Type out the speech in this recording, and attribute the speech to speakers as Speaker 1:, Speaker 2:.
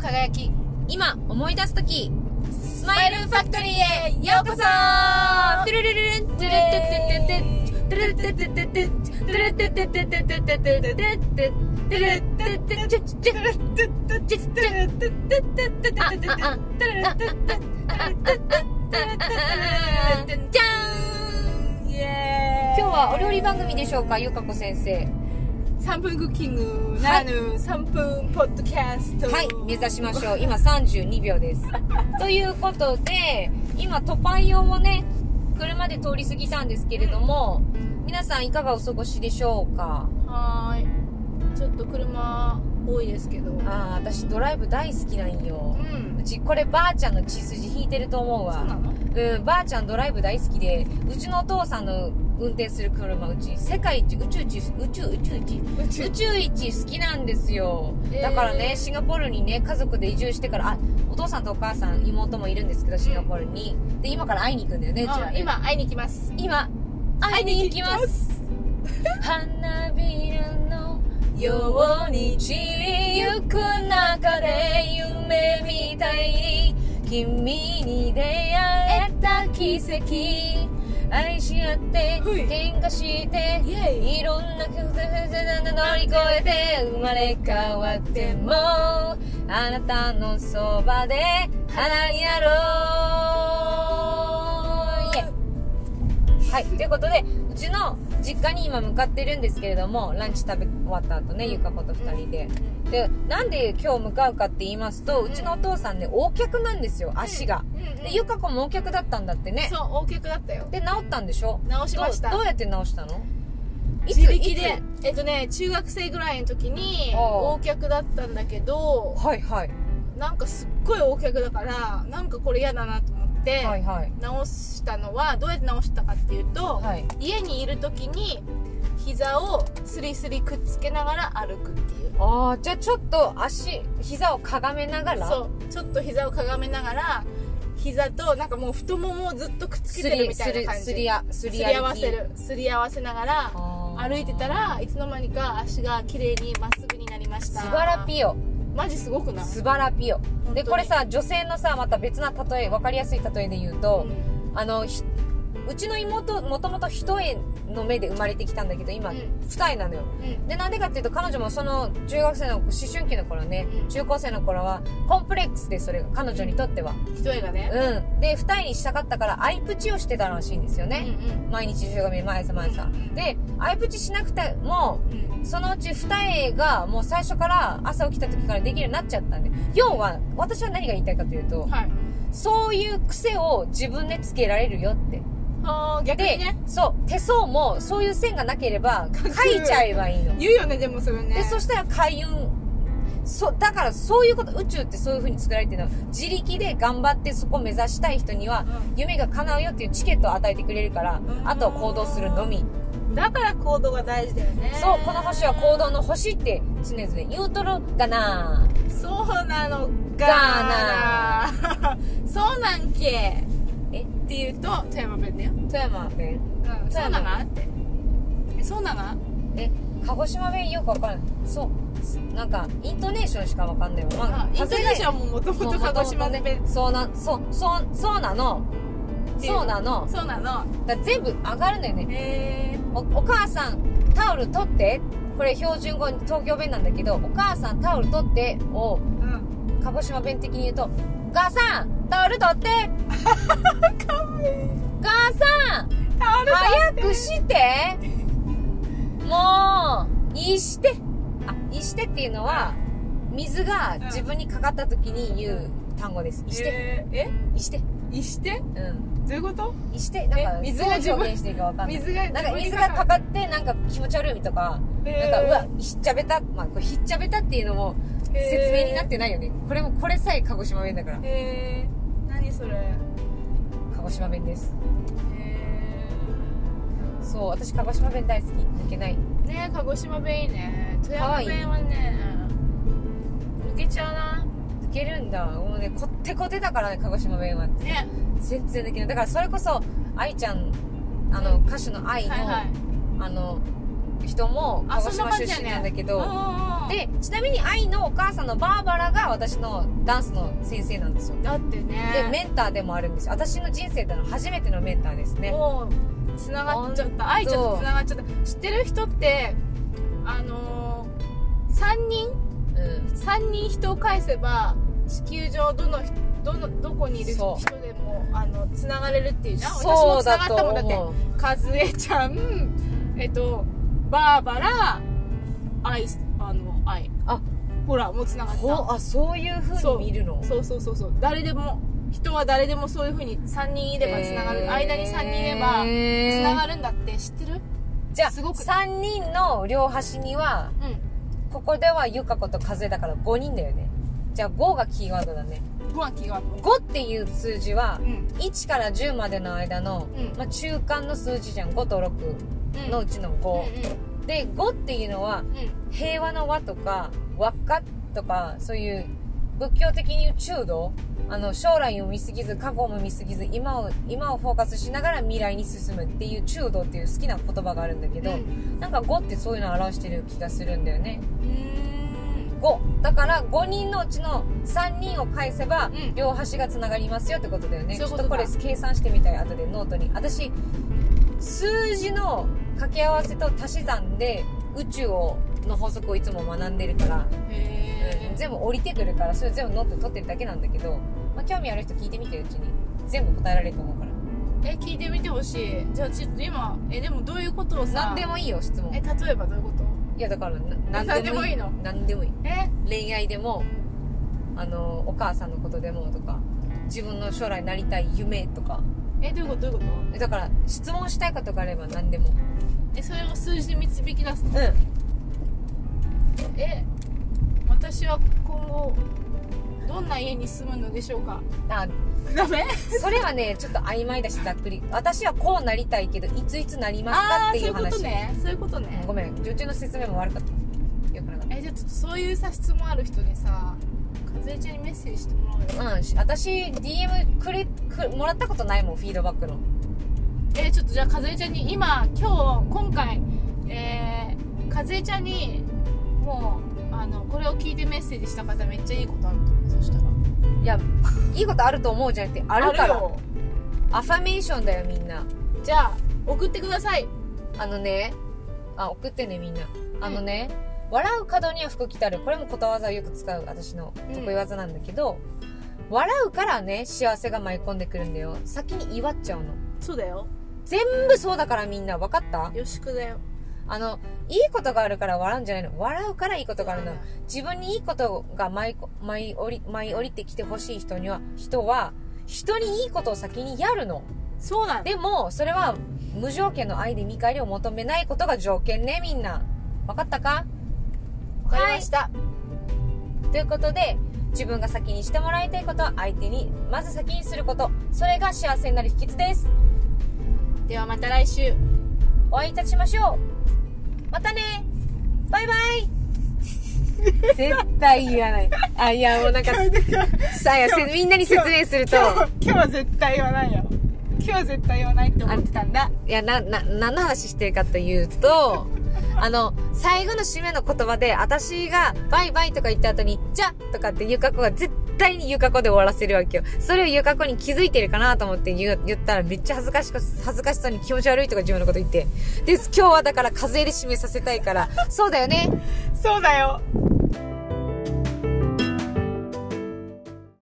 Speaker 1: 輝き
Speaker 2: 今思い出すとき、ス
Speaker 1: マ
Speaker 2: マ
Speaker 1: イ
Speaker 2: イ
Speaker 1: ル
Speaker 2: ル
Speaker 1: フ
Speaker 2: フ
Speaker 1: ァ
Speaker 2: ァ
Speaker 1: ク
Speaker 2: ク
Speaker 1: ト
Speaker 2: ト
Speaker 1: リ
Speaker 2: リ
Speaker 1: ー
Speaker 2: ー
Speaker 1: へ
Speaker 2: へ
Speaker 1: よ
Speaker 2: よ
Speaker 1: う
Speaker 2: う
Speaker 1: こ
Speaker 2: こ
Speaker 1: そ
Speaker 2: そじゃん
Speaker 1: 今日はお料理番組でしょうかゆかこ先生
Speaker 2: 3分クッキングならぬ3分ポッドキャスト
Speaker 1: はい目指しましょう今32秒ですということで今トパイオンをね車で通り過ぎたんですけれども、皆さんいかがお過ごしでしょうか
Speaker 2: はーいちょっと車多いですけどうん
Speaker 1: ああ私ドライブ大好きなんようちこればあちゃんの血筋引いてると思う
Speaker 2: そうな
Speaker 1: わ
Speaker 2: の
Speaker 1: うんばあちゃんドライブ大好きでうちのお父さんの運転する車うち世界一宇宙一宇宙宇宙一
Speaker 2: 宇
Speaker 1: 宇宙一好きなんですよ、
Speaker 2: えー
Speaker 1: だからねシンガポールにね家族で移住してからあお父さんとお母さん妹もいるんですけどシンガポールに、で今から会いに行くんだよねうちらね
Speaker 2: 今会いに行きます
Speaker 1: 今会いに行きます花びらのように散りゆく中で夢みたい君に出会えた奇跡愛し合って
Speaker 2: ほい
Speaker 1: 喧嘩して
Speaker 2: イエイ
Speaker 1: いろんな苦難乗り越えて生まれ変わってもあなたのそばで花になろうイエイはい、ということで、うちの実家に今向かってるんですけれども、ランチ食べ終わった後ね、
Speaker 2: うん
Speaker 1: ゆかこと二人で。で、なんで今日向かうかって言いますと、うちのお父さんね、横脚なんですよ、足が。で、ゆかこも横脚だったんだってね。
Speaker 2: そう大きくなったよ
Speaker 1: で、治ったんでしょ
Speaker 2: 治しました
Speaker 1: どうどうやって治したのい
Speaker 2: 自力でえっとね中学生ぐらいの時に
Speaker 1: ああ
Speaker 2: 大脚だったんだけど
Speaker 1: はいはい。
Speaker 2: なんかすっごい大脚だからなんかこれ嫌だなと思って、
Speaker 1: はいはい。
Speaker 2: 直したのはどうやって直したかっていうと、
Speaker 1: はい
Speaker 2: 家にいる時に膝をスリスリくっつけながら歩くっていう
Speaker 1: ああ、じゃあちょっと足、膝をかがめながら、
Speaker 2: そうちょっと膝をかがめながら膝となんかもう太ももをずっとくっつけ
Speaker 1: す
Speaker 2: てる
Speaker 1: り、
Speaker 2: みた
Speaker 1: す
Speaker 2: い
Speaker 1: り
Speaker 2: な、感じ
Speaker 1: すりあ、す
Speaker 2: す
Speaker 1: り
Speaker 2: り
Speaker 1: 歩き
Speaker 2: 合わせ。るすり合わせながら
Speaker 1: あー
Speaker 2: 歩いてた、らいつの間にか足が綺麗にまっすぐになりました
Speaker 1: すばらぴよ。
Speaker 2: マジすごくない
Speaker 1: スバラピオ
Speaker 2: 当に
Speaker 1: でこれさ女性のさまた別な例え分かりやすい例えで言う
Speaker 2: う
Speaker 1: と、
Speaker 2: ん
Speaker 1: あのひうちの妹もともと一重の目で生まれてきたんだけど今、
Speaker 2: うん
Speaker 1: 二重なのよ
Speaker 2: うん
Speaker 1: でなんでかっていうと彼女もその中学生の思春期の頃ね、
Speaker 2: うん
Speaker 1: 中高生の頃はコンプレックスでそれが彼女にとっては
Speaker 2: 一重がね
Speaker 1: うんで二重にしたかったからアイプチをしてたらしいんですよね、毎日週髪毎朝毎朝、
Speaker 2: うん
Speaker 1: でアイプチしなくても
Speaker 2: うんうん
Speaker 1: そのうち二重がもう最初から朝起きた時からできるようになっちゃったんで要は私は何が言いたいかというと、
Speaker 2: うんはい
Speaker 1: そういう癖を自分でつけられるよって
Speaker 2: あー逆
Speaker 1: で、
Speaker 2: にね
Speaker 1: そう手相もそういう線がなければ書いちゃえばいいの
Speaker 2: 言うよねでもそれね
Speaker 1: でそしたら開運そだからそういうこと宇宙ってそういう風に作られてるの自力で頑張ってそこを目指したい人には
Speaker 2: う
Speaker 1: 夢が叶うよっていうチケットを与えてくれるから
Speaker 2: ん
Speaker 1: あとは行動するのみ
Speaker 2: だから行動が大事だよね
Speaker 1: そうこの星は行動の星って常々言うとるがな
Speaker 2: そうなの
Speaker 1: ガ
Speaker 2: かな そうなんけ
Speaker 1: え
Speaker 2: って言うと富山弁だよ、
Speaker 1: 富山弁
Speaker 2: うん、そうなのってえそうなの
Speaker 1: え鹿児島弁よくわかんないそうなんかイントネーションしかわかんないわ、ま
Speaker 2: あ
Speaker 1: あ、
Speaker 2: イントネーションももともと鹿児島
Speaker 1: で
Speaker 2: 弁、
Speaker 1: そうなそうそうそうなの
Speaker 2: っていう
Speaker 1: そうなの
Speaker 2: そうなの
Speaker 1: だから全部上がるのよね
Speaker 2: へえ
Speaker 1: おお母さんタオル取ってこれ標準語東京弁なんだけどお母さんタオル取ってを
Speaker 2: うん
Speaker 1: 鹿児島弁的に言うと「母さんタオル取って! 」 母さん
Speaker 2: タオル
Speaker 1: 早くしてもういいしてあいいしてっていうのは水が自分にかかった時に言う単語ですいして
Speaker 2: え
Speaker 1: いして
Speaker 2: いして
Speaker 1: うん
Speaker 2: どういうこと
Speaker 1: いしてなんか
Speaker 2: え水
Speaker 1: 水
Speaker 2: が
Speaker 1: が
Speaker 2: 自分
Speaker 1: 表現していいかわかんない
Speaker 2: 水が
Speaker 1: なんか水
Speaker 2: 自分に
Speaker 1: がかかってなんか気持ち悪いとかなんかうわひっちゃべたまあこれひっちゃべたっていうのも説明になってないよねこれもこれさえ鹿児島弁だから
Speaker 2: へえ何それへ
Speaker 1: 鹿児島弁です
Speaker 2: え
Speaker 1: そう私鹿児島弁大好き抜けない
Speaker 2: ねえ鹿児島弁いいね富
Speaker 1: か
Speaker 2: 山
Speaker 1: わいい
Speaker 2: 弁はね抜けちゃうな
Speaker 1: 抜けるんだもうねこってこてだからね鹿児島弁は
Speaker 2: ね
Speaker 1: 全然できないだからそれこそ愛ちゃんあの歌手の愛の、
Speaker 2: はいはい
Speaker 1: あの人も
Speaker 2: あそ
Speaker 1: 鹿児
Speaker 2: んな
Speaker 1: 島
Speaker 2: 感
Speaker 1: 出
Speaker 2: じやね
Speaker 1: 身なんだけ
Speaker 2: うんう
Speaker 1: ど、
Speaker 2: んうん
Speaker 1: でちなみに愛のお母さんのバーバラが私のダンスの先生なんですよ
Speaker 2: だってね
Speaker 1: でメンターでもあるんですよ私の人生での初めてのメンターですね
Speaker 2: もうつながっちゃった愛ちゃんとつながっちゃった知ってる人ってあのー、3人
Speaker 1: うん
Speaker 2: 3人人を返せば地球上どの人どのどこにいる人
Speaker 1: そう
Speaker 2: でもあのつながれるっていうじゃん私
Speaker 1: そ
Speaker 2: も
Speaker 1: う
Speaker 2: つな
Speaker 1: だ
Speaker 2: がっ
Speaker 1: と
Speaker 2: たもんだって
Speaker 1: 思う
Speaker 2: 和江ちゃんえっとバーバラ愛あの愛
Speaker 1: あ
Speaker 2: ほらもうつながった
Speaker 1: ほあそういう風に見るの
Speaker 2: そうそうそうそう誰でも人は誰でもそういうふうに3人いればつながる、
Speaker 1: へー
Speaker 2: 間に3人いればつながるんだって知ってる
Speaker 1: じゃあ
Speaker 2: すごく
Speaker 1: 3人の両端には
Speaker 2: う
Speaker 1: ここではゆかこと風だから5人だよねじゃあ5がキーワードだね
Speaker 2: んごは気がう
Speaker 1: 5っていう数字は
Speaker 2: んうん
Speaker 1: 1から10までの間の、
Speaker 2: うん
Speaker 1: まあ、中間の数字じゃん5と6のうちの
Speaker 2: うん
Speaker 1: 5、で5っていうのは
Speaker 2: うんうん
Speaker 1: 平和の和とか輪っかとかそういう仏教的に言う中道あの将来を見すぎず過去も見すぎず今を今をフォーカスしながら未来に進むっていう中道っていう好きな言葉があるんだけど、
Speaker 2: うん
Speaker 1: なんか5ってそういうのを表してる気がするんだよね
Speaker 2: うーん
Speaker 1: 5だから5人のうちの3人を返せば
Speaker 2: うん
Speaker 1: 両端がつながりますよってことだよね、
Speaker 2: そういう
Speaker 1: ち
Speaker 2: こ
Speaker 1: ょっ
Speaker 2: と
Speaker 1: と
Speaker 2: だ
Speaker 1: これ計算してみたい後でノートに私数字の掛け合わせと足し算で宇宙をの法則をいつも学んでるから、
Speaker 2: へ
Speaker 1: うん
Speaker 2: え
Speaker 1: 全部降りてくるからそれ全部ノートに取ってるだけなんだけど、まあ、興味ある人聞いてみてうちに全部答えられると思うから
Speaker 2: え聞いてみてほしいじゃあちょっと今えでもどういうことをさ
Speaker 1: 何でもいいよ質問
Speaker 2: え例えばどういうこと
Speaker 1: いやだからな
Speaker 2: 何
Speaker 1: 何
Speaker 2: で
Speaker 1: で
Speaker 2: も
Speaker 1: も
Speaker 2: い
Speaker 1: い
Speaker 2: い
Speaker 1: い
Speaker 2: の
Speaker 1: 何でもいい
Speaker 2: え
Speaker 1: 恋愛でもあのお母さんのことでもとか自分の将来なりたい夢とか
Speaker 2: えどういうことどういうこと
Speaker 1: だから質問したいことがあれば何でも
Speaker 2: えそれを数字で導き出すの
Speaker 1: う
Speaker 2: え私は今後どんな家に住むのでしょうか
Speaker 1: んあ
Speaker 2: ダメ
Speaker 1: それはねちょっと曖昧だしざっくり私はこうなりたいけどいついつなりますか
Speaker 2: ああー
Speaker 1: って
Speaker 2: そうい
Speaker 1: い
Speaker 2: ううこ
Speaker 1: 話
Speaker 2: とねそういうことね
Speaker 1: ごめん女中の説明も悪かったよくなかっ
Speaker 2: えじゃあちょっとそういうさ質問ある人にさ和江ちゃんにメッセージしてもらおうよ
Speaker 1: たうんし私 DM くれくもらったことないもんフィードバックの
Speaker 2: えちょっとじゃあ和江ちゃんに今今日今回えー、和江ちゃんにもうあのこれを聞いてメッセージした方めっちゃいいことあると思うそしたら
Speaker 1: いやいいことあると思うじゃなくてあるから
Speaker 2: よ
Speaker 1: アファメーションだよみんな
Speaker 2: じゃあ送ってください
Speaker 1: あのね、あ、送ってね、みんな。あのね、笑う角には服着たる。これもことわざをよく使う私の得意技なんだけど、笑うからね、幸せが舞い込んでくるんだよ。先に祝っちゃうの。
Speaker 2: そうだよ
Speaker 1: 全部そうだからみんな、分かった
Speaker 2: よしくだよ
Speaker 1: あの、いいことがあるから笑うんじゃないの。笑うからいいことがあるの。自分にいいことが舞いこ舞い降り、舞い降りてきてほしい人には、人は、人にいいことを先にやるの。
Speaker 2: そうなの
Speaker 1: でも、それは無条件の愛で見返りを求めないことが条件ね、みんな。わかったか
Speaker 2: わかりました、
Speaker 1: ということで、自分が先にしてもらいたいことは相手に、まず先にすること。それが幸せになる秘訣です。
Speaker 2: ではまた来週
Speaker 1: お会いいたしましょう。またねバイバイ 絶対言わない。あ、いや、もう なんか、さあや、せみんなに説明すると、
Speaker 2: 今日は絶対言わないよ今日は絶対言わないって思ってたんだ
Speaker 1: いや、な、な、何の話してるかというと、 あの、最後の締めの言葉で、私が、バイバイとか言った後に、じゃとかって、ゆかこが絶対にゆかこで終わらせるわけよ。それをゆかこに気づいてるかなと思って言う言ったら、めっちゃ恥ずかしく、恥ずかしそうに気持ち悪いとか自分のこと言って。で、今日はだから、風で締めさせたいから、そうだよね
Speaker 2: そうだよ